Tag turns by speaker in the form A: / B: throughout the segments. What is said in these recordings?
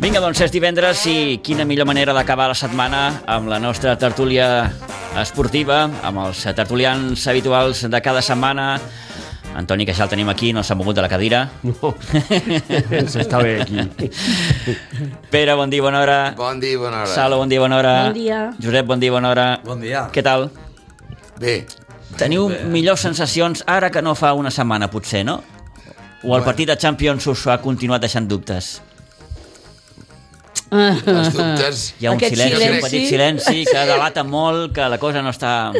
A: Vinga, doncs és divendres i quina millor manera d'acabar la setmana amb la nostra tertúlia esportiva, amb els tertulians habituals de cada setmana. Antoni Queixal el tenim aquí, no s'ha mogut de la cadira.
B: No, s'està bé aquí.
A: Pere, bon dia, bona hora.
C: Bon dia, bona hora.
A: Salo, bon dia, bona hora.
D: Bon dia.
A: Josep, bon dia, bona hora.
E: Bon dia.
A: Què tal?
C: Bé,
A: Teniu
E: Bé.
A: millors sensacions ara que no fa una setmana, potser, no? O el partit de Champions us ha continuat deixant dubtes?
C: els dubtes...
A: Hi ha un
D: Aquest
A: silenci, un
C: silenci.
A: petit silenci que delata molt, que la cosa no està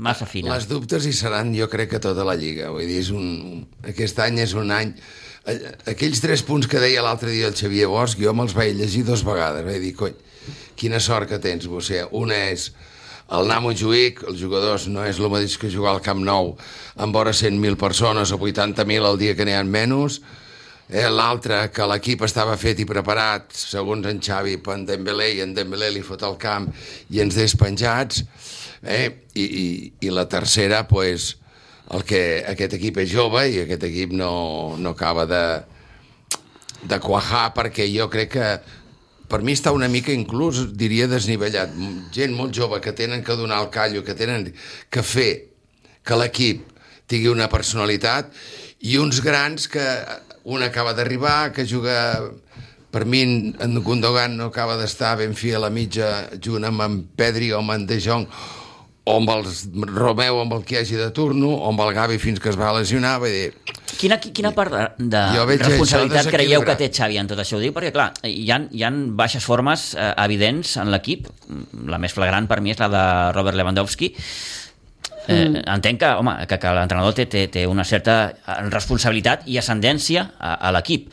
A: massa fina.
C: Les dubtes hi seran, jo crec, que tota la Lliga. Vull dir, és un, un- aquest any és un any... A- Aquells tres punts que deia l'altre dia el Xavier Bosch, jo me'ls vaig llegir dues vegades. Vaig dir, cony, quina sort que tens, Bossé. Una és el anar a Montjuïc, els jugadors no és el mateix que jugar al Camp Nou amb vora 100.000 persones o 80.000 el dia que n'hi ha menys. Eh, L'altre, que l'equip estava fet i preparat, segons en Xavi, per en Dembélé, i en Dembélé li fot el camp i ens despenjats. Eh? I, i, I la tercera, pues, el que aquest equip és jove i aquest equip no, no acaba de, de quajar, perquè jo crec que per mi està una mica inclús, diria, desnivellat. M- Gent molt jove que tenen que donar el callo, que tenen que fer que l'equip tingui una personalitat i uns grans que un acaba d'arribar, que juga... Per mi, en Gundogan no acaba d'estar ben fi a la mitja junt amb en Pedri o amb en De Jong o amb el Romeu, amb el que hagi de turno, o amb el Gavi fins que es va lesionar, vull dir,
A: Quina, qui- quina part de-
C: Jo
A: de
C: veig
A: responsabilitat
C: això
A: creieu que
C: desequilibrat.
A: té Xavi en tot això? Ho dic perquè, clar, hi ha, hi ha baixes formes eh, evidents en l'equip. Mm, La més flagrant per mi és la de Robert Lewandowski. Eh, entenc que, home, que, que l'entrenador té, té, té una certa eh, responsabilitat i ascendència a, a l'equip.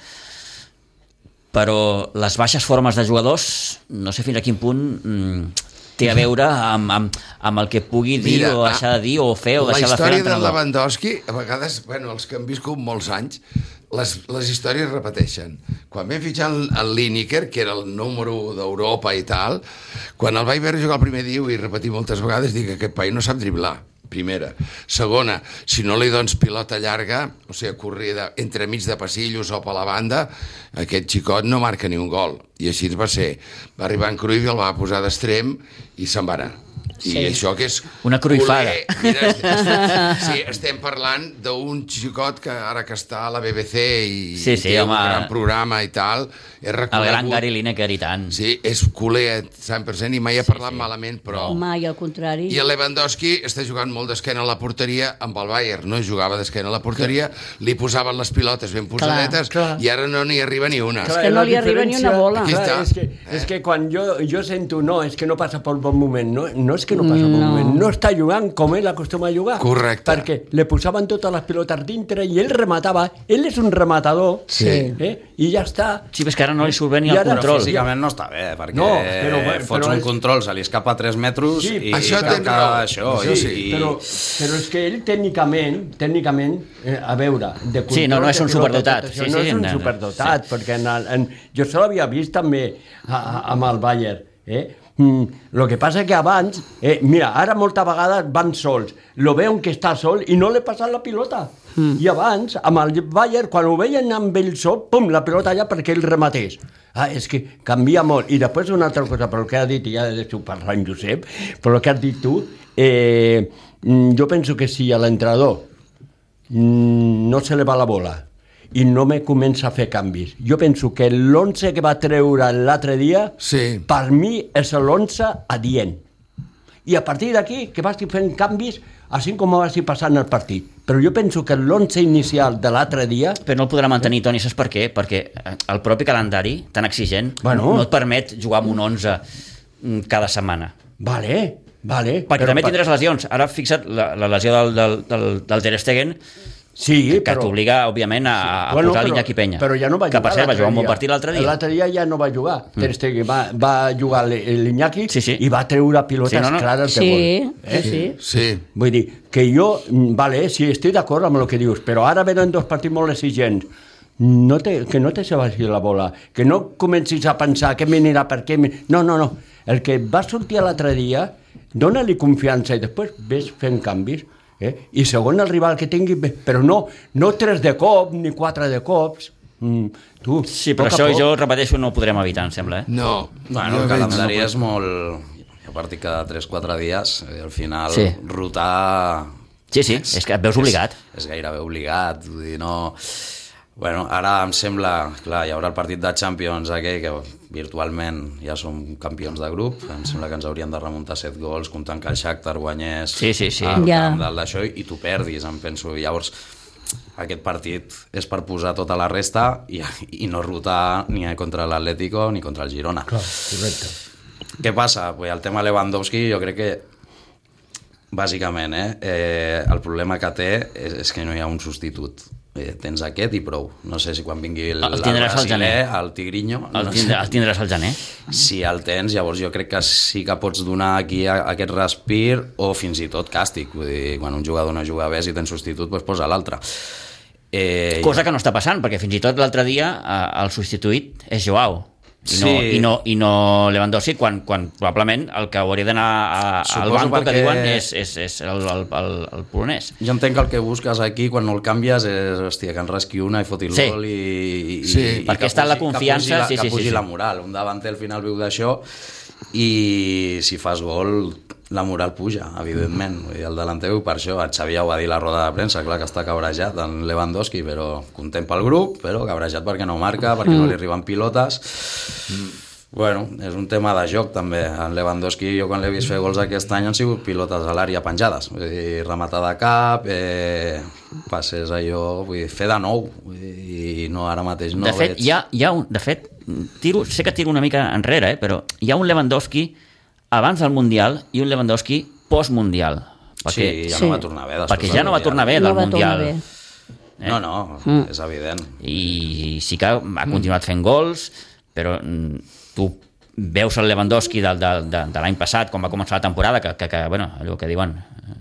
A: Però les baixes formes de jugadors, no sé fins a quin punt mm, té a veure amb, amb, amb el que pugui dir
C: Mira,
A: o deixar de dir o fer o
C: la
A: deixar de fer
C: història de
A: l'entrenador.
C: Lewandowski, a vegades, bueno, els que han viscut molts anys, les, les històries es repeteixen. Quan vam fitxar el, el Lineker, que era el número 1 d'Europa i tal, quan el vaig veure jugar el primer dia, i repetir moltes vegades, dic que aquest país no sap driblar, primera. Segona, si no li dones pilota llarga, o sigui, corrida entremig de passillos o per la banda, aquest xicot no marca ni un gol. I així va ser. Va arribar en Cruyff i el va posar d'extrem i se'n va anar. I
D: Sí.
C: això que és...
A: Una cruifada.
C: culer, Mira, est- sí, estem parlant d'un xicot que ara que està a la BBC i
A: Sí, sí,
C: té
A: home.
C: un gran programa i tal, és
A: El
C: reconegut.
A: gran Gary Lineker i tant.
C: Sí, és culer 100% i mai ha parlat sí, sí. malament, però...
D: Mai, al contrari.
C: I el Lewandowski està jugant molt d'esquena a la porteria amb el Bayern, no jugava d'esquena a la porteria, li posaven les pilotes ben posadetes
B: clar.
C: i ara no n'hi arriba ni una.
D: que no
B: la
D: li arriba ni
B: diferència-
D: una bola.
C: Aquí
B: Clar,
C: està.
B: és, que, és que quan jo, jo sento no, és que no passa pel bon moment, no, no és que no passa pel bon moment, no està jugant com ell acostuma a jugar.
C: Correcte.
B: Perquè le posaven totes les pilotes dintre i ell rematava, ell és un rematador,
C: Sí.
B: eh? i ja està.
A: Sí, però és que ara no li surt bé ni
B: I
A: el
B: ara
A: control.
E: Físicament no està bé, perquè
B: No,
E: no,
B: però-
E: però,
B: però
E: fots
B: és-
E: un control, se li escapa 3 metres
B: Sí,
E: i
C: això
E: cal
C: tens
E: que
C: raó.
E: això,
C: Això
E: i,
C: sí,
E: i...
B: Però, però és que ell tècnicament, tècnicament, eh, a veure... De
A: Sí, no, no és
B: de
A: un
B: pilota,
A: superdotat.
B: tot això,
A: Sí,
B: no
A: sí,
B: és un
A: no, no.
B: superdotat, perquè en el, en, jo se l'havia vist també a, a, amb el Bayern. Eh? Mm, lo que passa que abans, eh, mira, ara molta vegada van sols, lo veuen que està sol i no li passen la pilota. Mm. I abans, amb el Bayern, quan ho veien amb ell sol, pum, la pilota allà perquè ell rematés. Ah, és que canvia molt. I després una altra cosa, però el que ha dit, i ja deixo parlar en Josep, però el que has dit tu, eh, mm, jo penso que si a l'entrenador mm, no se li va la bola i no me comença a fer canvis. Jo penso que l'11 que va treure l'altre dia,
C: Sí.
B: per mi és l'11 adient. I a partir d'aquí, que vagi fent canvis, així com vagi passant el partit. Però jo penso que l'11 inicial de l'altre dia...
A: Però no el podrà mantenir, Toni, saps per què? Perquè el propi calendari, tan exigent,
B: Bueno.
A: no et permet jugar amb un 11 mm, cada setmana.
B: Vale, vale.
A: Perquè
B: però
A: també
B: per-
A: tindràs lesions. Ara, fixa't, la, la lesió del, del, del, del Ter Stegen,
B: Sí,
A: que
B: però...
A: t'obliga, òbviament, a, a
B: Bueno,
A: posar
B: però-
A: l'Iñaki Penya.
B: Però ja no va
A: que,
B: jugar
A: per cert, va
B: l'altre
A: jugar un bon
B: dia.
A: partit l'altre dia.
B: L'altre dia ja no va jugar. Mm. Ter Stegen va, va jugar l- l'Iñaki
A: Sí, sí.
B: i va treure pilotes
A: Sí, no,
B: sí,
A: no.
B: no. clares de
D: Sí,
B: gol.
A: Eh?
B: Eh?
D: sí, sí.
C: Sí.
B: Vull dir, que jo, mm, vale, sí, estic d'acord amb el que dius, però ara venen dos partits molt exigents. no te, que no te se vagi la bola, que no comencis a pensar què m'anirà, per què... m'hi- No, no, no. El que va sortir l'altre dia, dona-li confiança i després ves fent canvis. Eh? I segon el rival que tingui, bé, però no, no tres de cop ni quatre de cops. Mm, tu,
A: Sí, però
B: poc a
A: això
B: poc.
A: jo, repeteixo, no ho podrem evitar, em sembla. Eh?
C: No.
E: Bueno,
C: jo veig-
E: el calendari és molt... Jo partic cada 3-4 dies i al final
A: Sí.
E: rotar...
A: Sí, sí, és que et veus obligat.
E: És, és gairebé obligat, vull dir, no... Bueno, ara em sembla, clar, hi haurà el partit de Champions aquell que virtualment ja som campions de grup, em sembla que ens haurien de remuntar 7 gols comptant que el Shakhtar guanyés
A: Sí, sí, sí.
E: al
D: Ja.
E: camp del d'això i tu perdis, em penso. Llavors, aquest partit és per posar tota la resta i, i no rotar ni contra l'Atlético ni contra el Girona.
B: Clar, correcte.
E: Què passa? Pues el tema Lewandowski jo crec que bàsicament eh, eh, el problema que té és, és que no hi ha un substitut eh, tens aquest i prou no sé si quan vingui el,
A: El tindràs al
E: brasiler,
A: gener.
E: el tigrinyo
A: El,
E: no sé
A: tindrà, el tindràs al gener.
E: si el tens, llavors jo crec que sí que pots donar aquí a, aquest respir o fins i tot càstig. Vull dir, quan un jugador no juga bé, si tens substitut, doncs posa l'altre. Eh,
A: Cosa que no està passant, perquè fins i tot l'altre dia eh, el substituït és Joao. I no,
E: Sí.
A: i no, i no Lewandowski, quan, quan probablement el que hauria d'anar a- al
E: Suposo
A: banco perquè... que
E: perquè-
A: diuen és, és, és el, el, el, el polonès.
E: Jo entenc que el que busques aquí, quan no el canvies, és, hòstia, que en rasqui una i foti
A: Sí.
E: l'ol i, i,
C: Sí.
E: i,
A: Perquè
E: que
A: està la
E: pugi- que
A: confiança,
E: pugi la-
A: sí, sí,
E: que pugi
A: sí, sí.
E: la moral. Un davanter al final viu d'això i si fas gol la moral puja, evidentment. Vull dir, el delanter viu per això. En Xavi ja ho va dir a la roda de premsa, clar que està cabrejat en Lewandowski, però content pel grup, però cabrejat perquè no marca, perquè no li arriben pilotes. Bueno, és un tema de joc també. En Lewandowski, jo quan l'he vist fer gols aquest any han sigut pilotes a l'àrea penjades, vull dir, rematar de cap, eh, passes allò, vull dir, fer de nou, vull dir, i no ara mateix no
A: de fet,
E: veig...
A: hi ha, hi ha un, de fet tiro, sé que tiro una mica enrere, eh, però hi ha un Lewandowski abans del Mundial i un Lewandowski post-Mundial.
E: Sí,
A: Perquè,
E: ja
D: Sí.
E: no va tornar bé. després
A: perquè
E: del
A: ja no va
E: Mundial.
A: tornar bé eh? Mm. del
D: no va tornar
A: Mundial.
D: bé.
E: No, no, és evident.
A: i sí que ha continuat fent gols, però mm, tu veus el Lewandowski del, del, de, de l'any passat, com va començar la temporada, que, que, que bueno, allò que diuen, eh,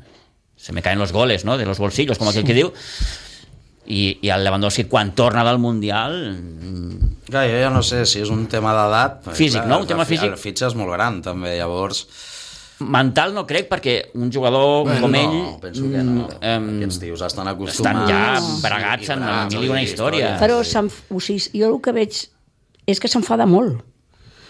A: se me caen los goles, no?, de los bolsillos, com aquell que diu, i, i el Lewandowski quan torna del Mundial mm,
E: Clar, jo ja no sé si és un tema d'edat. perquè,
A: Físic,
E: clar,
A: no? Un tema
E: la fi-
A: físic.
E: La fitxa és molt gran, també, llavors...
A: mental no crec perquè un jugador bueno, com ell mm,
E: no, penso que no.
A: em,
E: Aquests tios estan
A: estan
E: acostumats...
A: ja
E: i- i
A: bregats en
E: bravos,
A: mil i una
E: i
A: història.
E: històries.
D: Però s'enf- o sigui, jo el que veig és que s'enfada molt.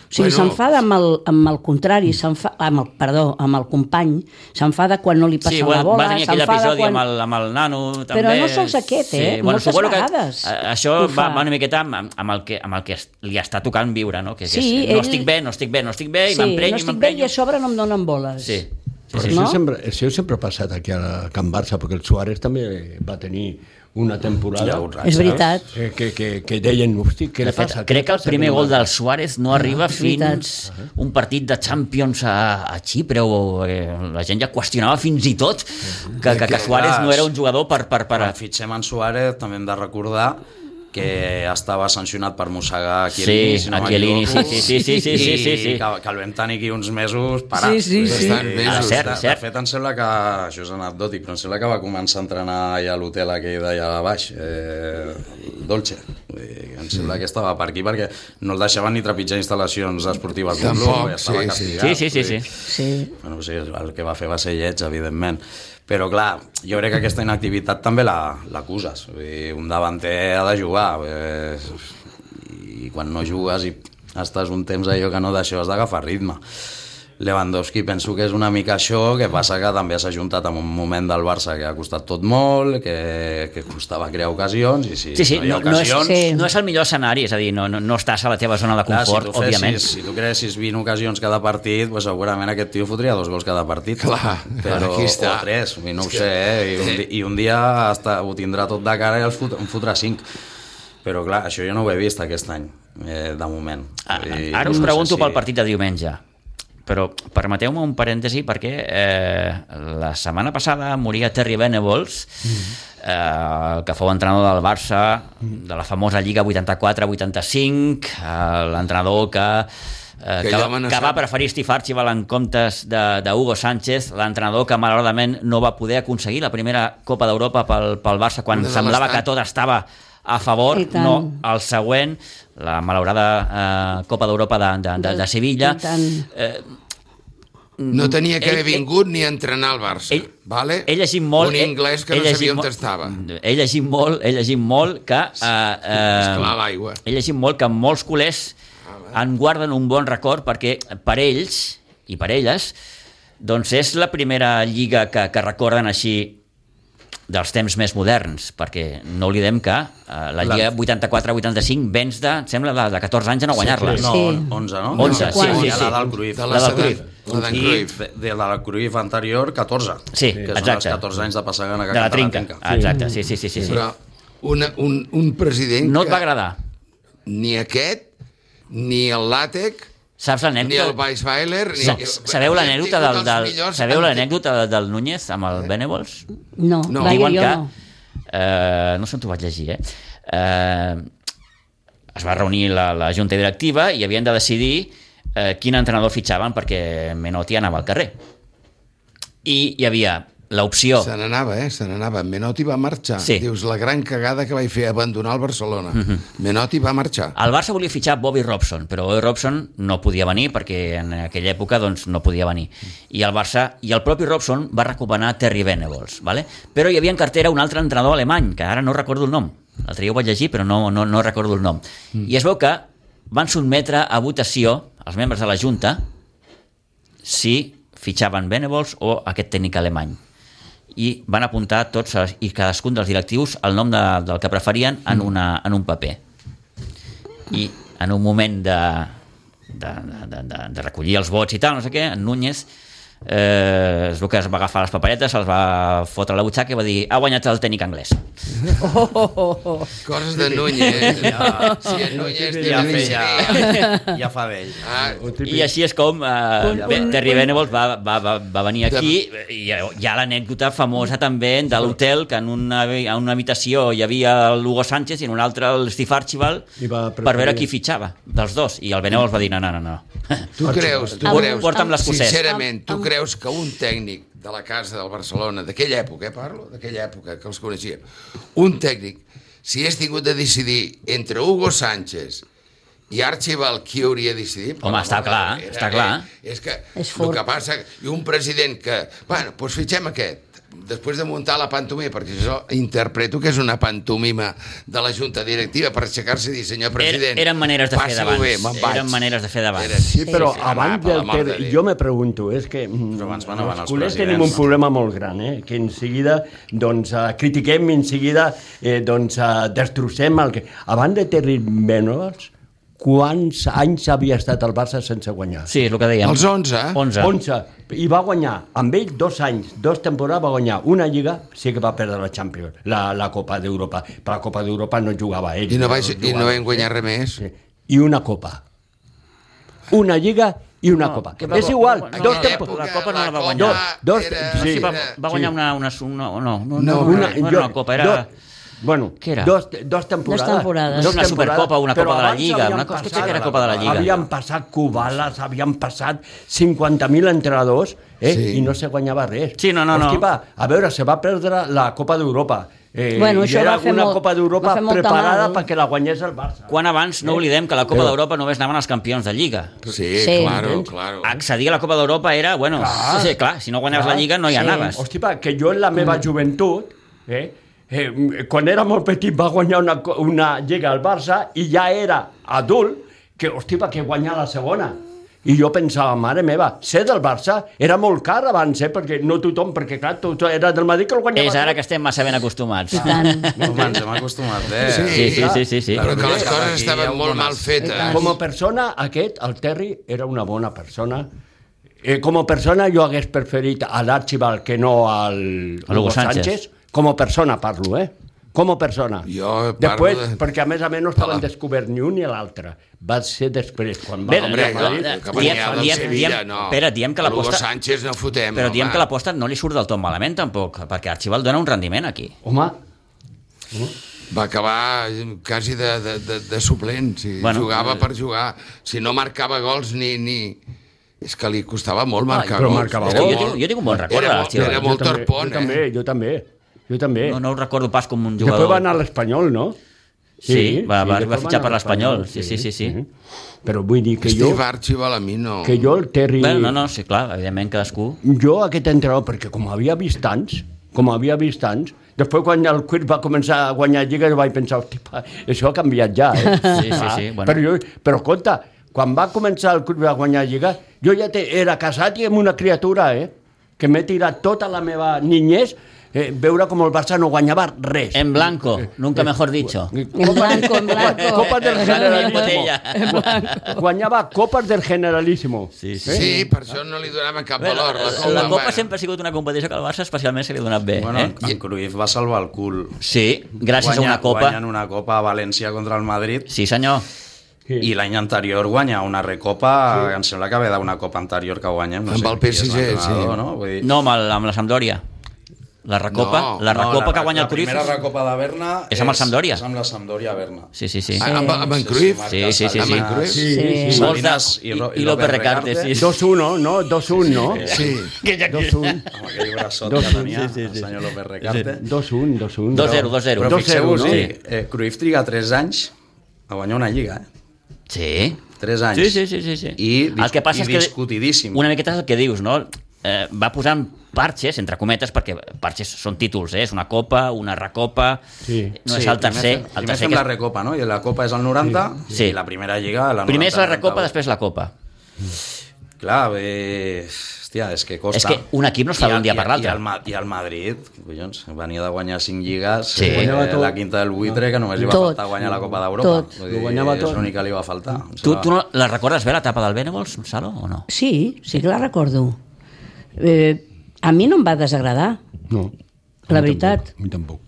D: O sigui,
C: Bueno.
D: s'enfada amb, el, amb el contrari, s'enfa- amb el, perdó, amb el company, s'enfada quan no li passa
A: Sí, bueno,
D: la bola,
A: va tenir aquell
D: s'enfada
A: episodi
D: quan...
A: quan... amb, el, amb el nano, també.
D: Però no sols aquest, eh? Moltes
A: suposo
D: vegades
A: Que, eh, això
D: ho
A: va,
D: fa.
A: va una miqueta amb, amb- amb, el que, amb el que es- li està tocant viure, no? Que, que
D: Sí,
A: és, no
D: ell-
A: estic bé, no estic bé, no estic bé, i
D: Sí,
A: m'emprenyo,
D: no
A: i
D: estic bé i
A: m'emprenyo.
D: a sobre no em donen boles.
A: Sí, sí,
B: Però
A: sí.
B: això,
D: No?
B: sempre, això sempre ha passat aquí a Can Barça, perquè el Suárez també va tenir una temporada
E: Ja ho raig,
D: És veritat.
B: eh, que, que, que deien, hosti, què
A: De
B: li
A: fet,
B: passa? Què li
A: crec que el
B: passa?"
A: primer gol del Suárez no arriba
D: Ah, veritat.
A: fins un partit de Champions a, a Xipre o eh, la gent ja qüestionava fins i tot que, que, que
E: Que
A: Suárez
E: clar,
A: no era un jugador per... per, per
E: Quan fitxem en Suárez també hem de recordar que estava sancionat per mossegar
A: Sí,
E: Chiellini, si no
A: a Chiellini,
E: m'equivoco,
A: sí, sí, sí, sí, sí, sí, sí.
E: i Que, que el vam tenir aquí uns mesos parat.
D: Sí, sí, sí.
E: Bastant mesos.
A: Ah, cert,
E: de,
A: cert.
E: de fet, em sembla que, això és anecdòtic, però em sembla que va començar a entrenar allà a l'hotel aquell d'allà a baix, eh, el Dolce. Vull dir, Em sembla que estava per aquí perquè no el deixaven ni trepitjar instal·lacions esportives. del club,
C: Tampoc, sí,
E: estava
C: sí.
E: castigat,
A: Sí, sí, sí,
E: vull
A: sí.
E: dir,
D: Sí.
E: Bueno, sí, el que va fer va ser lleig, evidentment. Però, clar, jo crec que aquesta inactivitat també la- l'acuses. Vull dir, un davanter ha de jugar. Eh, I quan no jugues i estàs un temps allò que no d'això, has d'agafar ritme. Lewandowski penso que és una mica això, que passa que també s'ha juntat amb un moment del Barça que ha costat tot molt, que, que costava crear ocasions, i si
A: Sí, sí,
E: no hi ha
A: no, no, és,
E: ocasions...
D: sí.
A: no és el millor escenari, és a dir, no, no, no estàs a la teva zona de
E: Clar, si
A: confort,
E: tu fessis,
A: òbviament.
E: Si tu creessis 20 ocasions cada partit, pues segurament aquest tio fotria dos gols cada partit.
C: Clar,
E: però,
C: aquí està.
E: O tres, i no ho
C: És que-
E: sé, eh? I un, di- i un dia hasta ho tindrà tot de cara i els fot, en fotrà cinc. Però clar, això jo no ho he vist aquest any, eh, de moment.
A: Ah,
E: Vull dir,
A: Ara us
E: no sé
A: pregunto
E: si-
A: pel partit de diumenge, però permeteu-me un parèntesi perquè eh, la setmana passada moria Terry Venables,
E: Mm.
A: eh, el que fou entrenador del Barça, de la famosa Lliga 84-85, eh, l'entrenador que... eh,
C: Que
A: que,
C: ja
A: va,
C: amenaçat.
A: que va preferir Steve Archibald en comptes de, de Hugo Sánchez, l'entrenador que malauradament no va poder aconseguir la primera Copa d'Europa pel, pel Barça quan
C: Una de
A: semblava
C: bastant.
A: que tot estava a favor,
D: I tant.
A: no al següent, la malaurada eh, Copa d'Europa de, de, de, de Sevilla.
D: I tant.
A: Eh,
C: No tenia que
A: Ell-
C: haver vingut ni a entrenar al Barça.
A: ell-
C: vale?
A: he llegit molt...
C: Un inglès que
A: he
C: no
A: llegit
C: sabia on
A: mo-
C: estava.
A: He llegit molt, he llegit molt que... Eh, eh,
C: Esclar, l'aigua.
A: He llegit molt que molts culers
C: Ah,
A: en guarden un bon record perquè per ells i per elles doncs és la primera lliga que, que recorden així dels temps més moderns, perquè no oblidem que eh, la Lliga 84-85 vens de, em sembla, de, de 14 anys a no guanyar-la.
E: No,
D: Sí.
E: 11, no?
A: 11,
D: sí, sí,
E: ja
A: sí.
E: La del Cruyff.
C: De
A: La
C: la,
A: del
C: Sedan-
A: Cruyff.
C: la d'en
E: I
C: Cruyff.
E: de, de la Cruyff anterior, 14.
A: Sí,
E: que són els
A: exacte.
E: 14 anys de Passagana que
A: de la
E: canta
A: trinca.
C: Ah.
A: Exacte, sí, sí, sí. sí, sí.
C: Però una, un, un president
A: No et
C: que
A: va agradar.
C: ni aquest, ni el Látec,
A: Saps
C: ni el
A: l'anècdota?
C: Weisweiler... Ni...
A: Sa- Sabeu
C: Hem
A: l'anècdota del,
C: tingut els
A: del,
C: millors Eh?
A: sabeu
C: anti-
A: l'anècdota del, del Núñez amb el Benevols?
C: No.
D: No, no. Vaja,
A: Diuen
D: jo
A: que...
D: no.
A: Eh, no sé on t'ho vaig llegir, eh? eh es va reunir la, la junta directiva i havien de decidir eh, quin entrenador fitxaven perquè Menotti anava al carrer. I hi havia l'opció...
C: Se n'anava, eh? Se n'anava. Menotti va marxar.
A: Sí. Mhm.
C: Dius, la gran cagada que vaig fer, abandonar el Barcelona. Menotti va marxar.
A: El Barça volia fitxar Bobby Robson, però Bobby Robson no podia venir perquè en aquella època doncs, no podia venir. I el Barça i el propi Robson va recomanar Terry Venables, vale? però hi havia en cartera un altre entrenador alemany, que ara no recordo el nom. L'altre dia ho vaig llegir, però no, no, no recordo el nom. I es veu que van sotmetre a votació els membres de la Junta si fitxaven Venables o aquest tècnic alemany i van apuntar tots els, i cadascun dels directius el nom de, del que preferien en, una, en un paper i en un moment de, de, de, de, de recollir els vots i tal, no sé què, en Núñez eh, és el que es va agafar les paperetes, se'ls va fotre a la butxaca i va dir ha guanyat el tècnic anglès.
D: Oh, oh, oh, oh.
C: Coses de Núñez. Ja. Sí, en Núñez té
E: Ja,
C: una
E: fe,
C: miseria.
E: ja, ja fa vell.
C: Ah,
A: I així és com eh, bé, Terry Venables va, va, va, va venir aquí i hi ha, hi ha l'anècdota famosa també de l'hotel que en una, en una habitació hi havia el Hugo Sánchez i en una altra el Steve Archibald
B: I va
A: per veure
B: preferir-
A: qui fitxava dels dos i el Venables va dir no, no, no, no.
C: Tu creus, tu
D: Ah,
C: creus,
A: porta'm l'escocès.
C: sincerament, tu
D: Am- am-
C: creus que un tècnic de la casa del Barcelona, d'aquella època, eh, parlo, d'aquella època, que els coneixíem, un tècnic, si hagués tingut de decidir entre Hugo Sánchez i Archibald, qui hauria decidit?
A: Home, està clar, està clar.
C: Eh, és que
D: És
C: el
D: fort.
C: que passa... I un president que... Bueno, doncs fitxem aquest. Després de muntar la pantomima, perquè jo interpreto que és una pantomima de la Junta Directiva per aixecar-se i dir, senyor president...
A: Era, eren maneres de fer
C: passi-ho
A: d'abans.
C: bé, me'n vaig."
A: Eren maneres de fer
C: Era-
A: d'abans.
B: Sí, però
C: sí,
B: abans
C: va, Ah, per
B: del
C: la mort de
B: Ter...
C: Déu.
B: Jo me pregunto, és que... mm,
E: Però abans van avant els
B: culers
E: presidents,
B: tenim un
E: no?
B: problema molt gran, eh? Que en seguida, doncs, eh, critiquem i en seguida, eh, doncs, eh, destrossem el que... Abans de Terry Menors, quants anys havia estat el Barça sense guanyar?
A: Sí, és el que dèiem.
C: Els 11, eh?
A: 11.
B: 11. I va guanyar, amb ell, dos anys, dos temporades, va guanyar una Lliga, sí que va perdre la Champions, la, la Copa d'Europa. Per la Copa d'Europa no jugava ell.
C: I no,
B: va
C: vaig, i no vam guanyar res més.
B: Sí. I una copa. Una lliga i una copa.
A: que va-
B: És igual,
A: va-
B: no,
A: no,
B: dos
A: no,
B: tempos.
A: La Copa no la va guanyar.
B: Dos, dos,
A: Eh, Sí,
B: sí,
A: va,
C: Eh,
A: va guanyar
B: sí.
A: una, una, una, no, no, no,
C: No,
A: no,
B: Una,
A: una, no, era una copa, era...
B: Dos, bueno,
A: Què era?
B: Dos, dos temporades.
D: Dos temporades.
A: Una Supercopa, una
B: però
A: Copa de la
B: abans
A: Lliga,
B: havien
A: una cosa-
B: passat-
A: que era Copa de la Lliga.
B: Havien passat Cubales, havien passat 50.000 entrenadors eh?
C: Sí.
B: i no se guanyava res.
A: Sí, no, no,
B: És
A: no.
B: que va, a veure, se va perdre la Copa d'Europa. Eh,
D: Bueno,
B: i
D: això
B: era
D: va fer
B: una
D: molt-
B: Copa d'Europa
D: va fer molta
B: preparada
D: mal.
B: perquè la guanyés el Barça.
A: Quan abans, no oblidem que a la Copa d'Europa només anaven els campions de Lliga.
C: Sí,
D: Sí.
C: claro, claro.
A: Accedir a la Copa d'Europa era, bueno, clar, sí, clar, si no guanyaves la Lliga no hi
D: Sí.
A: anaves.
B: Hosti, pa, que jo en la meva joventut, eh, eh, quan era molt petit va guanyar una, co- una lliga al Barça i ja era adult, que, hosti, pa, que guanyar la segona. I jo pensava, mare meva, ser del Barça era molt car abans, eh? perquè no tothom, perquè clar, tot era del Madrid que el guanyava.
A: És ara
B: tot.
A: que estem massa ben acostumats.
D: I tant.
E: Home, ens hem acostumat, eh?
A: Sí, sí, sí, sí, sí.
C: Però que les
E: Aquí hi
C: coses
E: ha
C: estaven molt
E: algunes.
C: mal fetes.
B: Eh, Com a persona, aquest, el Terry, era una bona persona. Eh, com a persona, jo hagués preferit a l'Archibald que no al
A: A l'Hugo Sánchez.
B: Com a persona parlo, eh? Com a persona.
C: Jo parlo
B: després,
C: de-
B: perquè a més a més no estaven
C: Hola.
B: descobert ni un ni l'altre. Va ser després, quan va...
A: Bé,
B: venir
C: Hombre,
B: a
A: no,
B: Madrid.
A: no,
C: que
A: diem-
C: venia del
A: diem-
C: Sevilla,
A: diem-
C: no.
A: espera, diem que
C: A l'Hugo
A: l'aposta-
C: Sánchez no fotem,
A: Però diem
C: home.
A: que l'aposta no li surt del tot malament, tampoc, perquè Archibald dona un rendiment aquí.
B: Home,
C: Va acabar quasi de, de, de, de suplent, si
A: Bueno,
C: bueno, jugava
A: eh,
C: per jugar. Si no marcava gols ni... ni... És que li costava molt marcar
B: però
C: gols.
B: marcava
C: Era
A: Jo,
B: gols.
A: jo,
C: molt-
A: tinc, jo tinc un bon record de
C: Era, molt,
A: l'Archibald.
C: era molt
B: jo també,
C: torpon,
B: jo també,
C: eh?
B: jo també, jo també.
A: No, no ho recordo pas com un
B: Després va anar
A: jugador.
B: a l'Espanyol, no?
A: Sí, va, va,
B: de
A: va
B: forma
A: fitxar per
B: en
A: l'Espanyol, sí,
B: espanyol,
A: sí, sí, sí.
B: Però vull dir que jo,
C: Steve Archibald a mi no...
B: que jo el Terry...
A: Bueno, no, no, sí, clar, evidentment cadascú...
B: jo aquest entrenador, perquè com havia vist tants, com havia vist tants, després quan el Quir va començar a guanyar lligues vaig pensar, "Hosti, pa, això ha canviat ja, eh?
A: Sí, sí, sí,
B: Ah,
A: bueno.
B: Però, jo, però compte, quan va començar el Quir a guanyar lligues, jo ja te, era casat i amb una criatura, eh? Que m'he tirat tota la meva niñez eh, veure com el Barça no guanyava res.
A: En blanco, nunca mejor dicho.
D: En blanco, en blanco.
B: Copas del
A: Generalísimo. En
B: Generalísimo. Guanyava Copas del Generalísimo.
A: Sí, sí.
C: Sí, per això no li donàvem cap
A: Bé,
C: valor. La Copa,
A: la Copa
C: bueno.
A: sempre ha sigut una competició que al Barça especialment se li ha donat bé.
E: Bueno,
A: eh?
E: en, en Cruyff va salvar el cul.
A: Sí, gràcies a una copa.
E: Guanyen una copa a València contra el Madrid
A: Sí, senyor.
B: Sí.
E: i l'any anterior guanya una recopa, sí. em sembla que ve d'una copa anterior que guanyem. No
C: Amb
E: sé
C: el
E: qui és
C: PSG,
E: l'entrenador,
C: sí.
E: No? Vull dir,
A: No, amb, el, amb la Sampdoria. La recopa,
C: No,
A: la recopa
E: la,
A: que guanya
E: la
A: el Cruyff.
E: primera recopa de Berna
A: és amb el Sampdoria.
E: És amb la Sampdoria Berna.
A: Sí, sí, sí.
C: Ah, amb, amb en Cruyff?
A: Sí, sí, sí, sí.
C: Amb en Cruyff?
B: Sí, sí.
A: sí.
E: Salinas
A: I-
E: i, Ro-
A: i López Recarte, sí.
B: 2-1, no? 2-1, no?
C: Sí.
B: 2-1.
E: Amb aquell braçot
B: Dos-
E: que tenia
B: sí, sí,
E: el
B: sí.
E: senyor López Recarte.
B: 2-1, 2-1.
A: 2-0, 2-0.
E: Però
B: Dos zero,
E: fixeu-vos,
B: no?
E: sí. eh, Cruyff triga 3 anys a guanyar una lliga, eh?
A: Sí.
E: 3 anys.
A: Sí, sí, sí, sí, sí.
E: I,
A: el que passa
E: i
A: és que
E: discutidíssim.
A: una miqueta és el que dius, no? Eh, va posant parxes, entre cometes, perquè parxes són títols, eh? És una copa, una recopa,
B: Sí.
A: no és el tercer.
E: Primer,
A: el
E: primer
A: tercer
E: fem la recopa, no? I la copa és el 90
A: Sí.
E: i la primera lliga... La
A: primer és la
E: 90,
A: recopa,
E: 91.
A: després la copa.
E: Clar, bé... Hòstia, és que costa.
A: És que un equip no es fa
E: I el-
A: d'un dia
E: i-
A: per l'altre.
E: I, el Ma- I el Madrid, collons, venia de guanyar 5 lligues,
A: Sí.
E: sí.
B: Guanyava
E: eh,
B: tot.
E: la quinta del buitre, que només li va
D: Tot.
E: faltar guanyar la Copa d'Europa.
D: Tot.
E: Vull
B: Ho
E: dir,
B: guanyava tot.
E: És l'únic que li va faltar. em
A: Tu,
E: sembla.
A: tu no la recordes bé, l'etapa del Bénévols, Salo, o no?
D: Sí, sí que la recordo. Eh, a mi no em va desagradar,
B: No.
D: la veritat.
B: A mi tampoc.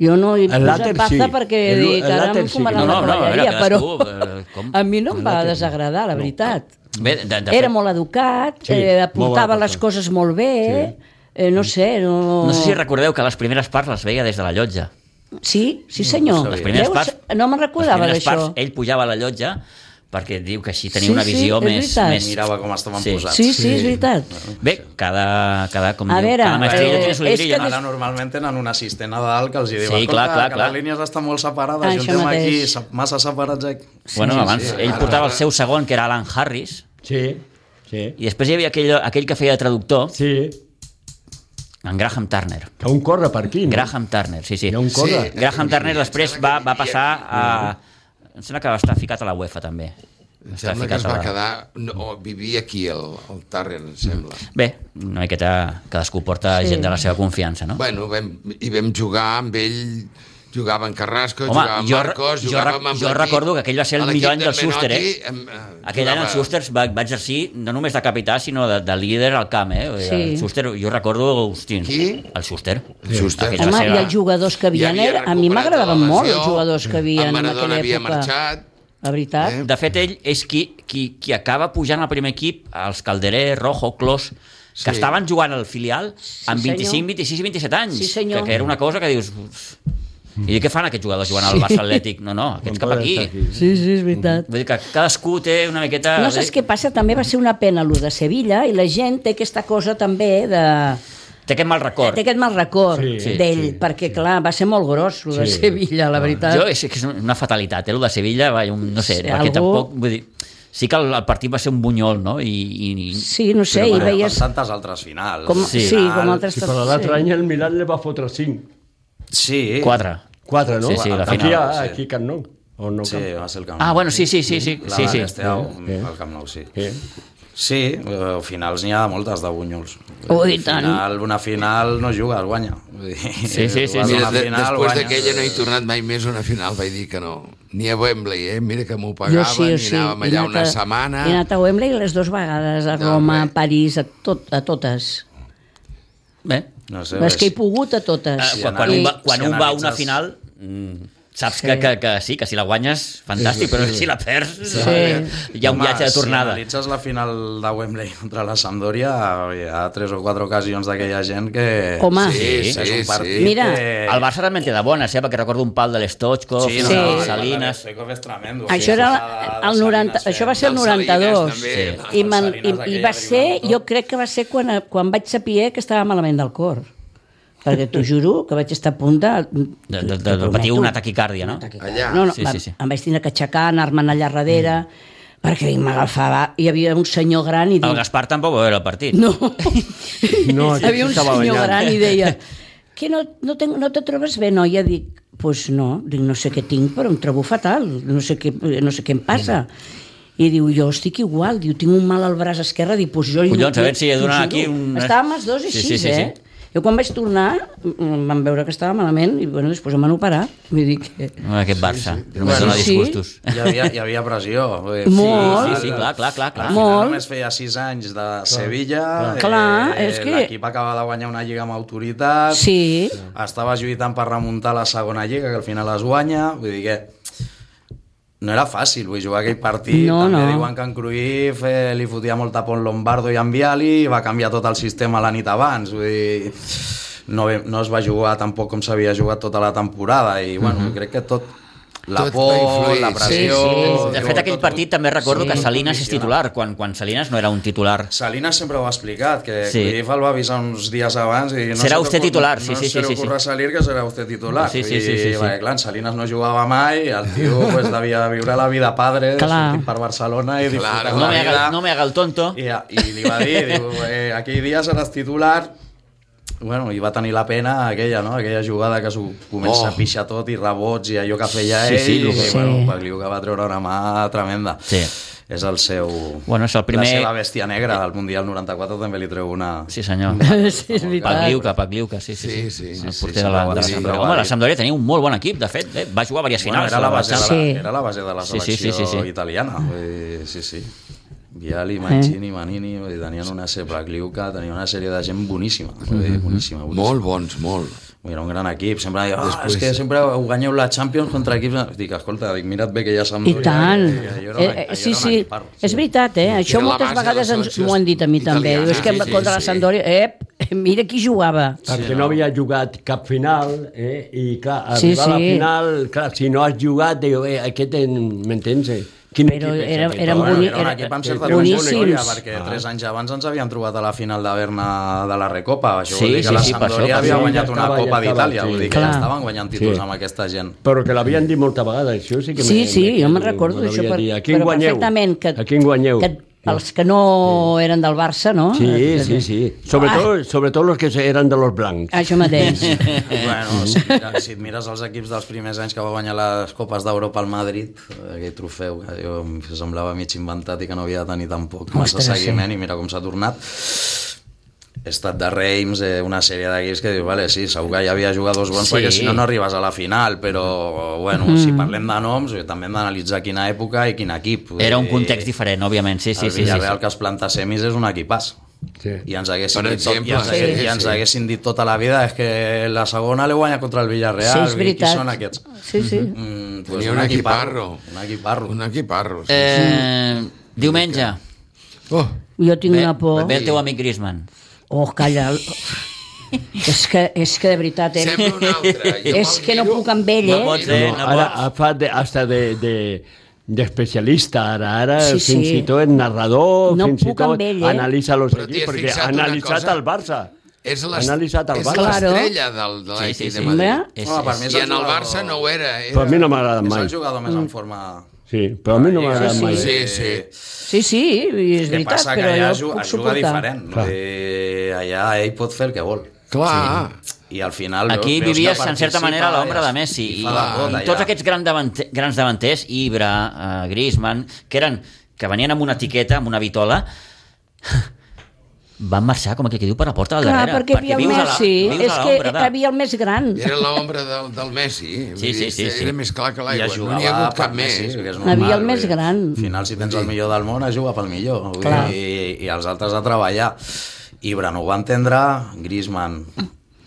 D: Jo no he
B: El
D: posat
B: l'àter
D: pasta
B: sí.
D: perquè
B: El-
D: dic,
B: el
D: ara
B: l'àter
D: em
B: sí.
D: fumaran
A: No,
D: la
A: no, no,
D: cavalleria,
A: era
D: però
A: cadascú, eh, com-
D: a mi no em va desagradar, la veritat.
A: Bé, de, de fet,
D: Era molt educat,
B: Sí,
D: eh,
B: molt
D: apuntava
B: bona
D: les coses molt bé, eh, no sé, no...
A: No sé si recordeu que les primeres parts les veia des de la llotja.
D: Sí, sí senyor.
E: No ho
A: Les primeres
D: Veus?
A: parts...
D: no me'n recordava
A: les primeres Parts,
D: d'això.
A: ell pujava a la llotja perquè diu que així tenia
D: Sí,
A: una
D: sí,
A: visió
D: és
A: més,
D: veritat.
A: més...
E: Mirava com estaven
A: Sí.
E: posats.
D: Sí, sí, és veritat.
A: Bé, cada, cada, com
D: A
A: diu,
D: veure,
A: cada maestrilla
D: eh,
A: té el seu
D: és
A: idilli,
D: que
A: no?
E: Ara normalment tenen una assistena de dalt que els hi diu,
A: Sí,
E: "Escolta,
A: clar, clar,
E: que
A: clar.
E: les línies estan molt separades,
D: Això
E: juntem aquí,
D: mateix.
E: se- massa separats aquí.
A: Bueno, abans
C: sí,
A: ell
C: ara-
A: portava el seu segon, que era Alan Harris,
B: Sí, sí.
A: i després hi havia aquell, aquell que feia de traductor,
B: Sí,
A: en Graham Turner.
B: que un corre per aquí, no?
A: Graham Turner, sí, sí.
B: Hi ha un corre.
C: Sí.
A: Graham Turner després va, va passar a... Em sembla que va estar ficat a la UEFA, també.
C: Em
A: Està
C: sembla que es
A: ficat a
C: va
A: la-
C: quedar... No, o vivia aquí, el, el Tarrer, em sembla.
A: Bé, una miqueta cadascú porta
D: Sí.
A: gent de la seva confiança, no?
C: Bueno, vam, i vam jugar amb ell... Jugava en Carrasco,
A: Home,
C: jugava en
A: jo-
C: Marcos,
A: jo
C: jugava
A: rec-
C: amb
A: jo
C: l'equip-
A: recordo que aquell va ser el
C: a l'equip
A: millor any
C: de
A: del Schuster,
C: Menotti,
A: eh?
C: em, eh,
A: Aquell any el
C: jugava-
A: Schuster va, va exercir no només de capità, sinó de, de líder al camp, eh? Vull dir,
D: Sí.
A: El Schuster, jo recordo, hosti,
C: Qui?
A: el Schuster.
C: Schuster.
A: Aquell va
D: Home,
A: ser
D: i
A: la-
D: els jugadors que havien, era, a
C: recuperat
D: mi
C: de la
D: m'agradaven molt els
C: lesió,
D: jugadors que havien
C: en
D: en
C: Maradona
D: aquella
C: havia
D: època.
C: marxat,
D: La veritat.
C: Eh?
A: De fet, ell és qui, qui, qui acaba pujant al primer equip, els Calderer, Rojo, Clos, que
C: Sí.
A: estaven jugant al filial amb
D: senyor.
A: 25, 26 i 27 anys.
D: Sí, senyor.
A: Que, que era una cosa que dius... "Uf". I què fan aquests jugadors jugant al Barça Atlètic? No, no, aquests cap aquí.
D: Sí, sí, és veritat.
A: Vull dir que cadascú té una miqueta...
D: No saps què passa? També va ser una pena allò de Sevilla i la gent té aquesta cosa també de...
A: Té aquest mal record.
D: Té aquest mal record
B: Sí,
D: d'ell,
B: sí,
D: perquè, clar, va ser molt gros allò de
B: Sí.
D: Sevilla, la veritat.
A: Jo, és, és una fatalitat, eh, el de Sevilla, va, jo no sé,
D: Sí,
A: perquè
D: algú-
A: tampoc, vull dir, sí que el, el partit va ser un bunyol, no? I, i, i
D: Sí, no sé, i
E: Bueno,
D: veies...
E: com tantes altres finals.
D: Com,
A: Sí.
D: sí, sí, com altres...
B: Sí, però l'altre any el Milan li va fotre 5.
E: Sí.
A: quatre.
B: 4, no?
A: Sí, sí, la
B: aquí,
A: final,
B: a,
E: sí.
B: aquí Can Nou. O no
E: Sí, va ser el Camp Nou.
A: Ah, bueno, sí, sí, sí, sí,
E: La
A: sí, sí.
E: Balenciao, el Camp Nou, sí.
B: Sí.
E: Sí, eh, finals n'hi ha de moltes de bunyols.
D: Oh, i
E: Al
D: tant.
E: Final, una final no juga, el guanya. Vull dir,
A: Sí, sí, sí,
E: jugues
A: sí.
E: una
C: Mira, de,
E: final,
C: després
E: guanyes.
C: d'aquella no he tornat mai més a una final, vaig dir que no. Ni a Wembley, eh? Mira que m'ho pagaven, i anàvem
D: He
C: allà
D: anat
C: una
D: a-
C: setmana.
D: He anat a Wembley les dues vegades, a
C: No,
D: Roma,
C: bé.
D: a París, a, tot, a totes.
A: Bé,
E: No sé,
D: Les que he
E: ves.
D: pogut, a totes.
A: eh, quan, quan,
E: analitzes-
A: un va, quan
E: si
A: un va a una
E: analitzes-
A: final, mm, saps
D: Sí.
A: que, que, que sí, que si la guanyes, fantàstic, però si la perds, eh,
D: Sí.
A: hi ha un
E: Home,
A: viatge de
E: Si
A: tornada.
E: analitzes la final de Wembley contra la Sampdoria, hi ha tres o quatre ocasions d'aquella gent que...
D: Home,
C: Sí,
A: Sí,
E: és
C: sí,
E: un partit
C: sí.
D: Mira.
E: que...
A: El Barça també en té de bones, eh? perquè recordo un pal de l'Estochkov, sí,
E: no,
A: no,
E: no,
A: Salinas...
E: Stoichkov és tremendo.
D: Això era el 90, això va ser el
C: Del Salinas
D: 92.
C: també,
D: Sí.
C: no?
D: I, man,
E: Del
D: i,
E: Salinas
D: I va
E: aquella
D: ser,
E: arribant tot.
D: jo crec que va ser quan, quan vaig saber que estava malament del cor. perquè t'ho juro que vaig estar a punt de...
A: de, de,
D: t'ho
A: de, de
D: prometo.
A: patir una taquicàrdia, no?
D: Una taquicàrdia.
C: Allà.
D: No, no,
A: Sí,
D: sí, va,
A: sí, sí.
D: Em vaig tindre que aixecar, anar-me'n allà darrere, mm. perquè m'agafava... Hi havia un senyor gran i
A: El
D: dic...
A: Gaspar tampoc va veure el partit.
D: No,
B: No,
D: Hi havia un
B: estava
D: senyor
B: banyant.
D: gran i deia que no, no, te, no te trobes bé, noia? Dic, pues no, dic, no sé què tinc, però em trobo fatal, no sé què, no sé què em passa. I diu, jo estic igual, diu, tinc un mal al braç esquerre, diu, pues jo...
A: Collons, a veure si he
D: t'ho
A: donat
D: juro.
A: aquí un-
D: Estàvem els dos i sí, sis, sí, sí, eh? Sí. Jo quan vaig tornar em van veure que estava malament i bueno, després em van operar. Vull dir que...
A: Aquest Barça. Sí, sí. Només
E: Sí,
A: dona
D: sí.
A: disgustos.
E: Hi havia, hi havia pressió. vull dir,
D: Molt.
A: Sí, sí, clar, clar, clar, clar.
E: Al final
D: Molt.
E: només feia 6 anys de Sevilla.
D: Clar, és que-
E: L'equip acaba de guanyar una lliga amb
A: Ah.
E: autoritat.
D: Sí,
E: Estava lluitant per remuntar la segona lliga, que al final es guanya. Vull dir que no era fàcil, vull jugar aquell partit.
D: No,
E: També
D: no.
E: diuen que en Cruyff eh, li fotia molta por Lombardo i en Viali i va canviar tot el sistema la nit abans. Vull dir, no, ve- no es va jugar tampoc com s'havia jugat tota la temporada i bueno, crec que tot la
C: Tot va
E: por,
C: influir,
E: la
C: sí,
E: pressió...
C: sí.
A: Mhm. De fet, aquell partit també recordo que Salinas és titular, quan, quan Salinas no era un titular.
E: Salinas sempre ho ha explicat, que
A: Sí.
E: sí. Cruyff el va avisar uns dies abans i no
A: Serà
E: se
A: usted
E: t'ocur-
A: titular, sí,
E: no
A: sí, sí, sí,
E: se
A: sí.
E: li ocorrà salir que serà usted titular.
A: Sí, sí, sí, sí,
E: I,
A: sí.
E: Perquè, clar, en Salinas no jugava mai, el tio pues, devia viure la vida padre,
D: Clar.
E: sortint per Barcelona i disfrutar
C: Claro.
E: de
A: No
E: la
A: me haga,
E: vida.
A: no me haga el tonto.
E: I, I li va dir, diu, eh, aquell dia seràs titular, bueno, i va tenir la pena aquella, no? Aquella jugada que s'ho comença
C: Oh.
E: oh. a pixar tot i rebots i allò que feia
A: Sí,
E: ell.
A: sí, lo
E: i,
A: que-
D: Sí.
E: bueno, Pagliu que va treure una mà tremenda.
A: Sí.
E: És el seu...
A: Bueno, és el
E: La
A: primer-
E: seva bèstia negra. Al Mundial 94 també li treu una...
A: Sí, senyor.
D: sí, és veritat.
A: Pagliuca, Pagliuca, sí, sí.
C: Sí,
A: sí.
C: sí.
A: El
E: Sí,
A: porter
E: sí,
A: de la,
E: sí,
A: de la
E: sí,
A: Sampdoria.
E: sí,
A: Home, la
E: vàlid.
A: Sampdoria tenia un molt bon equip, de fet. Eh? Va jugar a diverses
E: Bueno,
A: finals.
E: era, la base de la,
A: Barça.
D: Sí.
E: era la base de la
A: Sí, sí,
E: selecció sí, sí, sí,
A: sí. Eh.
E: sí. italiana. Vull dir, sí, sí. Viali, Mancini, Manini, vull dir, tenien una sepla Cliuca, tenien una sèrie de gent boníssima, vull dir, boníssima, boníssima.
C: Molt bons, molt.
E: Vull dir, Era un gran equip, sempre deia, ah, és que sempre guanyeu la Champions contra equips... Dic, escolta, dic, mira't bé que ja s'han
D: I tant. Eh, eh, sí, sí, és veritat, eh? Això
C: Era la
D: moltes
C: base de la
D: vegades ens-
C: selecció
D: m'ho han dit a mi també.
C: italiana.
D: Diu, és que
C: Sí, sí,
D: contra la
C: sí.
D: Sampdoria, ep, eh, mira qui jugava.
B: perquè no. havia jugat cap final, eh? i clar, arribar sí,
D: Sí,
B: sí. a la
D: sí.
B: final, clar, si no has jugat, diu, eh, aquest, en- m'entens? Eh? Quin
D: Però
B: equip és
D: era-
B: aquest? Ah,
D: era
E: Però bueno,
D: boni-
E: era un
D: era-
E: equip amb certa
D: boníssims.
E: trajectòria, perquè tres anys abans ens havíem trobat a la final de Berna de la Recopa. Això
A: Sí,
E: vol dir que
A: sí,
E: la
A: sí, per això,
E: Sampdoria
A: per
E: havia
A: això.
E: guanyat
B: Ja
E: una
B: estava, ja
E: Copa
B: estava,
E: d'Itàlia,
B: sí.
E: vull dir que
D: Clar.
E: ja estaven guanyant títols
B: Sí.
E: amb aquesta gent.
B: Però que l'havien dit moltes vegades, això sí que...
D: Sí,
B: me-
D: sí,
B: me-
D: jo me'n
B: me
D: recordo
B: l'havia
D: d'això, per,
B: dit. A quin
D: però
B: guanyeu?
D: perfectament. Que,
B: A quin guanyeu?
D: Que, els Ah, que no eren del Barça, no? Eh,
B: Sí, sí, sí. Sobretot, sobretot los que eren de los blancs.
D: Ah, això mateix.
E: bueno, si, mira- si et mires els equips dels primers anys que va guanyar les Copes d'Europa al Madrid, aquell trofeu que jo em semblava mig inventat i que no havia de tenir tampoc massa
D: Ostres, sí.
E: seguiment i mira com s'ha tornat he estat de Reims, eh, una sèrie d'equips que dius, vale, sí, segur que hi havia jugadors
A: Sí.
E: bons sí. perquè si no no arribes a la final però, bueno, mm. si parlem de noms eh, també hem d'analitzar quina època i quin equip
A: Era un
E: Eh,
A: context diferent, òbviament, sí, sí,
E: el
A: sí. sí,
E: Villarreal
A: sí.
E: que es planta semis és un equipàs
B: Sí.
E: i ens haguessin,
C: Per
E: dit, tot, i
C: exemple,
E: ens, haguessin,
C: sí,
E: i ens
C: sí.
E: haguessin dit tota la vida és que la segona l'he guanyat contra el
D: sí,
E: Villarreal
D: és
E: i qui
D: veritat.
E: són aquests?
D: Sí, sí.
E: Mm, pues
C: Tenia un equiparro.
E: un equiparro
C: Un equiparro. Sí.
A: Eh, diumenge.
C: Oh,
D: Jo tinc una por.
A: ve el teu amic Griezmann.
D: Oh, calla. És que, és que de veritat, eh?
C: sembla un altre. Jo
D: És
C: me'l
D: que no
C: miro.
D: puc amb ell,
A: No
D: eh?
A: pots, eh?
B: No,
A: No
B: ara
A: pots.
B: ha fa de, hasta de, de d'especialista, ara, ara
D: Sí,
B: sí,
D: sí.
B: sí. fins i tot narrador,
D: No
B: fins i
D: puc amb
B: tot
D: ell, eh?
B: analitza los
C: Però t'hi
B: equips,
C: has
B: perquè
C: fixat
B: ha
C: una
B: analitzat
C: cosa?
B: el Barça.
C: És
B: Ha
C: l'est-
B: analitzat el
C: és
B: Barça.
D: Claro.
C: l'estrella del, de l'Atleti
A: Sí, sí, sí.
C: de Madrid.
A: És,
E: Home, per
A: és,
E: mi és
C: I en el
E: jugador-
C: Barça no ho era. era...
B: Però a mi no m'ha agradat
E: és
B: mai.
E: el jugador més en forma
B: Sí, però a
C: Ah,
B: mi Mm. no m'ha
E: Lliga,
B: agradat
D: sí,
B: mai.
C: Sí, sí.
D: Sí, sí, i és
E: que
D: veritat,
E: passa que
D: però
E: allà
D: jo
E: es juga,
D: puc
E: es juga
D: suportar.
E: diferent eh, allà ell pot fer el que vol
C: Clar.
E: i al final veus-
A: Aquí
E: veus que
A: vivies, en certa
E: participa
A: manera, a l'ombra
E: i-
A: de Messi. I,
E: i fa la
A: i
E: gota,
A: tots
E: ja.
A: aquests grans, davante, grans davanters, Ibra, uh, Griezmann, que eren que venien amb una etiqueta, amb una vitola, van marxar, com aquell que diu, per la porta del
D: Clar,
A: darrere.
D: perquè hi havia el
A: vius a la-
D: Messi,
A: vius a
D: és que
A: l'ombra de-
D: hi havia el més gran.
C: Era l'ombra del, del Messi. Vull
A: Sí, sí,
C: dir,
A: sí, sí.
C: Era més clar que
E: I
C: l'aigua.
E: es
C: No
E: jugava
C: n'hi ha hagut cap
E: per
C: més.
E: Messi, que és
D: N'hi havia
E: normal,
D: el més
E: vull dir.
D: gran.
E: Al final, si tens el millor del món, es juga pel millor. vull dir,
D: Clar.
E: I, I els altres a treballar. Ibra no ho va entendre, Griezmann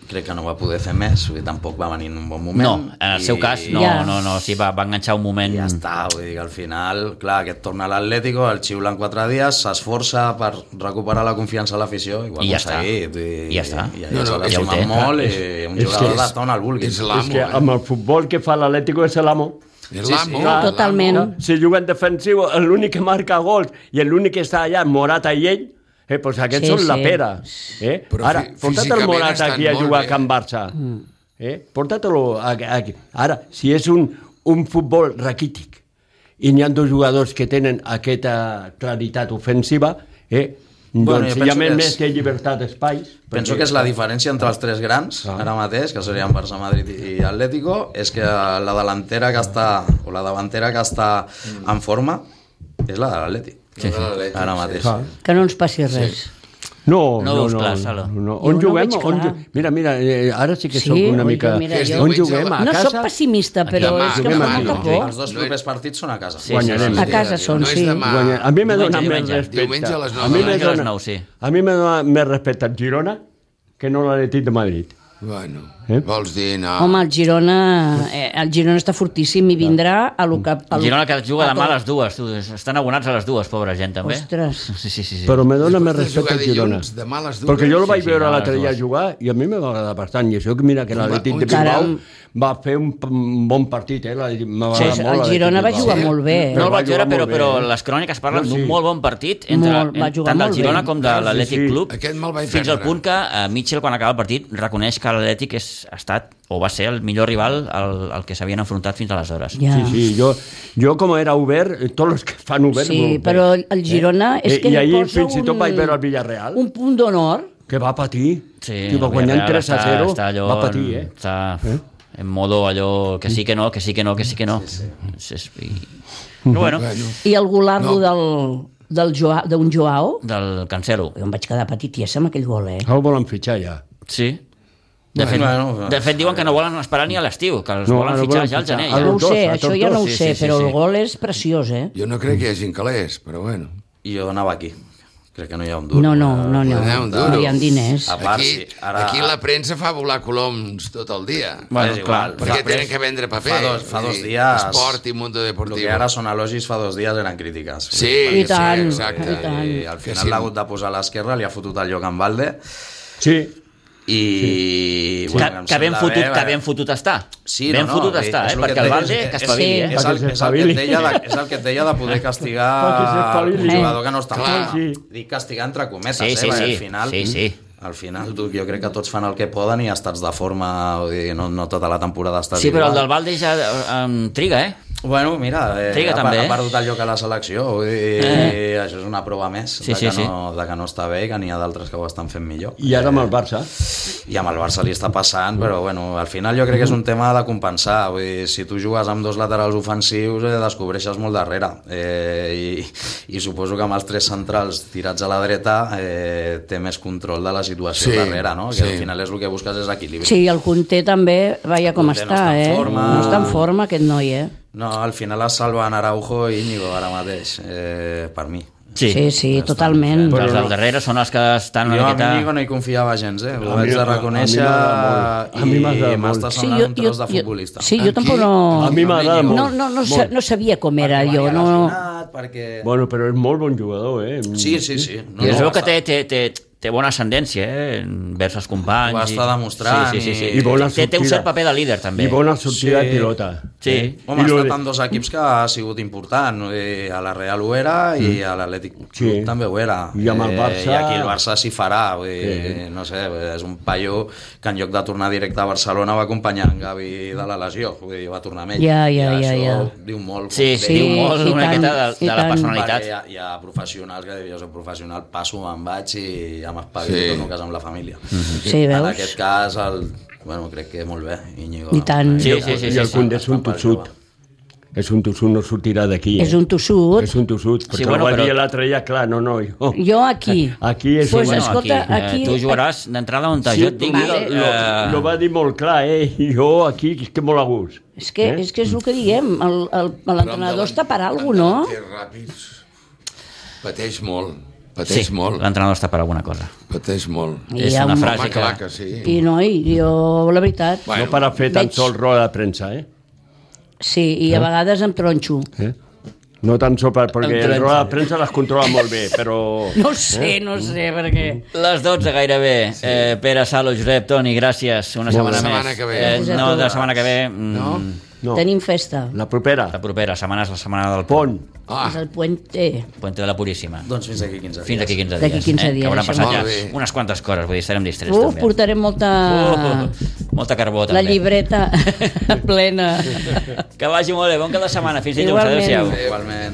E: crec que no va poder fer més, vull dir, tampoc va venir en un bon moment.
A: No, en el seu cas, no,
D: Ja.
A: no, no, sí, va, va enganxar un moment...
E: I ja està, vull dir que al final, clar, aquest torna a l'Atlético, el xiula en quatre dies, s'esforça per recuperar la confiança a l'afició, i ho ha
A: I ja està.
E: aconseguit. vull dir,
A: I ja està.
E: I, i,
C: No,
E: no,
C: no,
E: no,
C: és-
E: ja ho té,
A: clar,
E: molt,
A: és-
E: i un
B: és
E: jugador
B: que
E: de ton al vulgui.
C: És
B: És
C: l'amo.
B: que amb el futbol que fa l'Atlético és l'amo.
C: eh? És l'amo.
E: clar.
D: Totalment.
B: Oh. No? Si juguen defensiu, l'únic que marca gols i l'únic que està allà, Morata i ell, Eh, doncs aquests
D: Sí,
B: són la
D: sí.
B: pera. Eh?
C: Però
B: Ara,
C: fí-
B: porta't el
C: físicament
B: Morata
C: estan
B: aquí a
C: molt
B: jugar a
C: bé.
B: Can Barça.
D: Mm.
B: Eh? Porta-te-lo aquí, aquí. Ara, si és un, un futbol raquític i n'hi ha dos jugadors que tenen aquesta claritat ofensiva, eh?
E: Bueno,
B: doncs
E: jo
B: hi ha
E: penso
B: més,
E: que és-
B: més que llibertat d'espais.
E: Penso que és la diferència entre els tres grans, ara mateix, que serien Barça, Madrid i Atlético, és que la delantera que està, o la davantera que està en forma, és la de l'Atleti.
C: La de l'Atleti,
E: Ara
C: Mm. sí.
E: mateix.
B: Clar.
D: Que no ens passi res.
B: No,
A: No
B: no,
A: veus
B: no.
A: clar,
B: no,
A: Sala.
B: no.
D: Jo
B: On
D: no
B: juguem?
D: veig
B: On,
D: clar.
B: ju- mira, mira, eh, ara sí que
D: Sí,
B: sóc una
D: oi,
B: mica...
D: mira,
C: Que és jo-
B: on
C: diumenge
B: juguem?
C: la-
B: A
D: No
B: casa?
D: sóc pessimista, però
C: Demà,
D: és que em
B: demà,
D: fa molta
B: no.
D: por.
E: Els dos
C: No-
E: primers partits són a casa.
A: Sí, Guanyarem.
B: sí, sí.
D: A casa són,
C: no és
D: sí.
C: demà.
B: Guanya... A mi m'ha
A: Diumenge,
B: donat més
A: diumenge.
B: respecte.
C: Diumenge a les nou
B: a mi
C: de la
B: m'ha
A: nit.
B: donat,
A: A les nou, sí.
B: a mi m'ha donat més respecte el Girona que no l'Atlètic de Madrid.
C: Bueno,
B: Eh?
C: vols dir, no.
D: Home, el Girona, eh, el Girona està fortíssim i vindrà a lo que... A
A: El
D: lo-
A: Girona que juga
D: a
A: demà a
D: tot.
A: les dues, tu. Estan abonats a les dues, pobra gent, també.
D: Ostres.
A: Sí, sí, sí. sí.
B: Però me dona més
C: de
B: respecte
C: jugar
B: el Girona.
C: dilluns, demà a les dues.
B: Perquè jo el
A: Sí,
B: vaig
A: sí,
B: veure
A: demà a les
B: l'altre dia
A: dues.
B: jugar i a mi me va agradar bastant. I això que mira que l'Atlètic
C: un
B: de Bilbao
D: Caram.
B: va fer un p- un bon partit, eh? l'Atlètic-
A: Sí,
B: M'agrada
A: sí,
B: molt
D: el
B: l'Atlètic
D: Girona va
B: Bilbao.
D: jugar molt bé.
A: No el
B: va
A: vaig veure,
B: jugar
A: però,
B: molt
A: però
B: bé. eh?
A: eh? les cròniques parlen
B: No,
A: d'un
B: sí.
A: molt bon partit entre,
D: Molt, va jugar
A: tant del
D: molt bé.
A: Girona com de
B: Sí,
A: l'Atlètic
B: sí.
A: Club,
C: Aquest me'l vaig
A: fins al
C: perdre.
A: punt que eh, Mitchell, quan acaba el partit, reconeix que l'Atlètic és- ha estat o va ser el millor rival al, al que s'havien enfrontat fins aleshores.
D: Ja.
B: Sí, sí, jo, jo com era obert, eh, tots els que fan obert...
D: Sí,
B: molt bé. Eh?
D: però el Girona és que
B: I
D: li
B: ahir
D: posa
B: fins i tot
D: un-
B: vaig veure el Villarreal,
D: Un punt d'honor.
B: que va patir,
A: Sí,
B: que va
A: el
B: guanyar
A: Villarreal
B: 3 a 0,
A: està, està allò,
B: va patir, eh?
A: en- Està en modo allò que sí que no, que sí que no, que sí que no. Sí, sí. I...
B: Mhm.
A: Però bueno,
C: Bueno,
D: I el
C: No.
D: golardo no. del del Joa- d'un Joao,
A: del Cancelo.
D: jo em vaig quedar petitiessa amb aquell gol, eh?
B: Ah, ho volen fitxar ja.
A: Sí. De fet,
E: Bueno,
A: de fet, diuen que no volen esperar ni a l'estiu, que els
B: No,
A: volen
B: no
A: fitxar
B: volen
A: ja al
B: fitxar.
A: gener.
B: A
A: Ja.
D: No ho
B: tots dos,
D: sé,
B: a
D: això
B: tots
D: ja no
B: dos,
D: ho
A: sí,
D: sé,
A: sí,
D: però
A: sí.
D: el gol és preciós, eh?
C: jo no crec que hi hagin calés, però bueno.
E: I jo donava aquí. Crec que no hi ha un duro.
D: No, no, no, no.
C: Doneu un duro.
D: No hi ha diners.
E: A part,
C: Aquí,
E: sí, ara-
C: aquí la premsa fa volar coloms tot el dia.
A: Bueno,
E: És igual.
A: clar,
C: Perquè
E: fa-
C: tenen que vendre paper.
E: Fa dos, fa
C: Vull
E: dos
C: dir,
E: dies...
C: Esport i Mundo
E: El
C: Deportivo.
E: que ara són elogis fa dos dies eren crítiques.
C: Sí,
D: I tant,
C: sí, exacte.
D: i tant.
E: I al
C: Que
E: final
C: sí.
E: l'ha hagut de posar a l'esquerra, li ha fotut el lloc en balde
B: Sí,
E: i...
A: Que,
E: em
A: que ben
E: sembla
A: fotut,
E: bé,
A: que
E: perquè-
A: ben fotut està.
E: Sí,
A: ben
E: no, no,
A: fotut
E: és-
A: està,
E: és
A: eh?
E: el
A: Perquè
E: que et
A: el
E: deia,
A: Valde
E: és-
A: que
E: és-
A: espavili, eh?
E: És, el,
B: Perquè
E: és el que et
B: s'espavili.
E: deia de, és el que et deia de poder castigar
B: Perquè s'espavili.
E: un jugador que no està en
C: Clar.
E: forma. Dic castigar entre cometes,
A: Sí,
E: eh?
A: sí,
E: perquè
A: sí.
E: al final...
A: Sí, sí.
E: Al final, tu, jo crec que tots fan el que poden i estats de forma, vull dir, no, no tota la temporada estàs
A: Sí, però el
E: igual.
A: del Valde ja eh, em triga, eh?
E: Bueno, mira, eh,
A: Triga
E: ha,
A: també,
E: també,
A: eh?
E: ha perdut el lloc a la selecció vull dir, això és una prova més
A: Sí,
E: de,
A: sí,
E: que
A: sí.
E: No, de que no està bé i que n'hi ha d'altres que ho estan fent millor
B: i ara amb el Barça.
E: i amb el Barça li està passant, però bueno, al final jo crec que és un tema de compensar. Vull dir, si tu jugues amb dos laterals ofensius, eh, descobreixes molt darrere. Eh, i, I suposo que amb els tres centrals tirats a la dreta eh, té més control de la situació
C: Sí,
E: darrere, no? Que
C: sí.
E: al final és el que busques és equilibri.
D: Sí, el Conté també, veia com
E: Conté no
D: està,
E: està en
D: eh?
E: forma.
D: No està en forma aquest noi, eh?
E: No, al final es salven Araujo i Íñigo ara mateix, eh, per mi.
A: Sí.
D: Sí, sí, totalment.
A: Els del darrere són els que estan
E: Jo
A: una
E: a Íñigo
A: miqueta...
E: no hi confiava gens, eh? Ho
B: A mi-
E: vaig
B: a- a
E: de
B: mi
E: reconèixer
B: m'agrada molt. A mi m'agrada
E: i m'està
B: molt.
D: Sí,
E: semblant
D: jo,
E: un
D: jo,
E: tros de
D: jo,
E: futbolista.
D: sí, jo
C: Aquí,
D: tampoco
B: A
D: no...
B: mi m'agrada molt.
D: No, no, no, sa-
B: molt.
D: no sabia com era
E: Perquè
D: jo,
E: venia
D: no...
E: lesionat, Perquè...
B: Bueno, però és molt bon jugador, eh?
E: Sí, sí, sí.
A: I es veu que
E: basta.
A: té, té, té, té bona ascendència, eh? Vers els companys.
E: Ho està demostrant
A: Sí, sí, sí. sí.
E: i-
B: I bona
A: té, té un cert
B: sortida.
A: paper de líder, també.
B: I bona sortida de pilota. eh?
A: Sí.
E: Home,
B: I
E: ha
B: lo-
E: estat en dos equips que ha sigut important. Eh, A la Real ho era i a l'Atlètic Club
B: Mm. Sí.
E: també ho era.
B: I amb el
E: Eh,
B: Barça-
E: I aquí el Barça s'hi farà. Vull dir,
B: Sí.
E: No sé, és un paio que en lloc de tornar directe a Barcelona va acompanyar en Gavi de la lesió. Vull dir, va tornar amb ell.
D: Ja, ja,
E: I
D: ja,
E: això
D: ja.
E: diu molt.
A: Sí,
E: com
A: sí,
E: deia,
A: diu molt
D: i
A: una
D: tant,
A: miqueta de,
D: i
A: de la
D: tant.
A: personalitat.
E: Perquè hi, ha, hi ha professionals que jo soc professional, passo, me'n vaig i ja m'espavilo
C: Sí.
E: sí. torno a casa amb la família.
A: Mhm.
D: Sí,
E: En
D: veus?
E: aquest cas, el, bueno, crec que molt bé, Íñigo.
D: I tant.
A: Sí, sí, sí.
B: I el
A: sí.
B: Koundé és un tossut. És un tossut, no sortirà d'aquí. eh?
D: És un tossut.
B: És un tossut, perquè
A: bueno,
B: ho va
A: però-
B: dir l'altre dia, clar, no, no, jo...
D: Jo aquí.
B: Aquí és
D: Pues
B: un...
A: Bueno,
D: Escolta,
A: aquí,
D: aquí-
A: eh, tu jugaràs d'entrada on
B: Sí,
A: jo et
B: tu
A: digui.
B: mira,
A: eh,
B: lo, lo va dir molt clar, eh? I Jo aquí, és que molt a gust.
D: És que,
B: Eh?
D: és que és el que diem, el- el- l'entrenador està per alguna cosa, no?
C: Ràpids. Pateix molt. Pateix
A: sí,
C: molt.
A: l'entrenador està per alguna cosa.
C: Pateix molt.
D: Hi
A: És
D: ha
A: una
D: un-
A: frase
C: Home, clar
A: que...
C: que sí.
D: I noi, jo, la veritat,
C: Bueno,
B: no per a fer tan
D: veig-
B: sols roda de premsa, eh?
D: sí, i a vegades em tronxo.
B: eh? No tan sols per, perquè
A: Entrenja.
B: la roda de premsa les controla molt bé, però...
D: No
B: Eh?
D: sé, no sé, perquè...
A: Les 12 gairebé. Sí. Eh, Pere, Salo, Josep, Toni, gràcies. Una
B: Molt
A: setmana
B: bé.
A: més.
C: Setmana que ve.
A: Eh, no, de la setmana que ve. mm,
C: No?
B: No.
D: Tenim festa.
B: La propera.
A: La propera setmana és la setmana del pont,
B: Pont.
C: Ah,
D: És el puente.
A: Puente de la Puríssima.
E: Doncs fins aquí 15 dies.
A: Fins aquí 15 dies.
D: D'aquí 15
A: eh?
D: dies,
A: Que hauran
D: això.
A: passat ja
C: Molt bé.
A: unes quantes coses, vull dir, estarem distrets
D: Uh,
A: també.
D: portarem molta...
A: Uh, molta carbó, també.
D: la llibreta plena.
A: Que vagi molt bé, bon cap de setmana. Fins dilluns,
D: Igualment.
A: adéu-siau.
E: Igualment.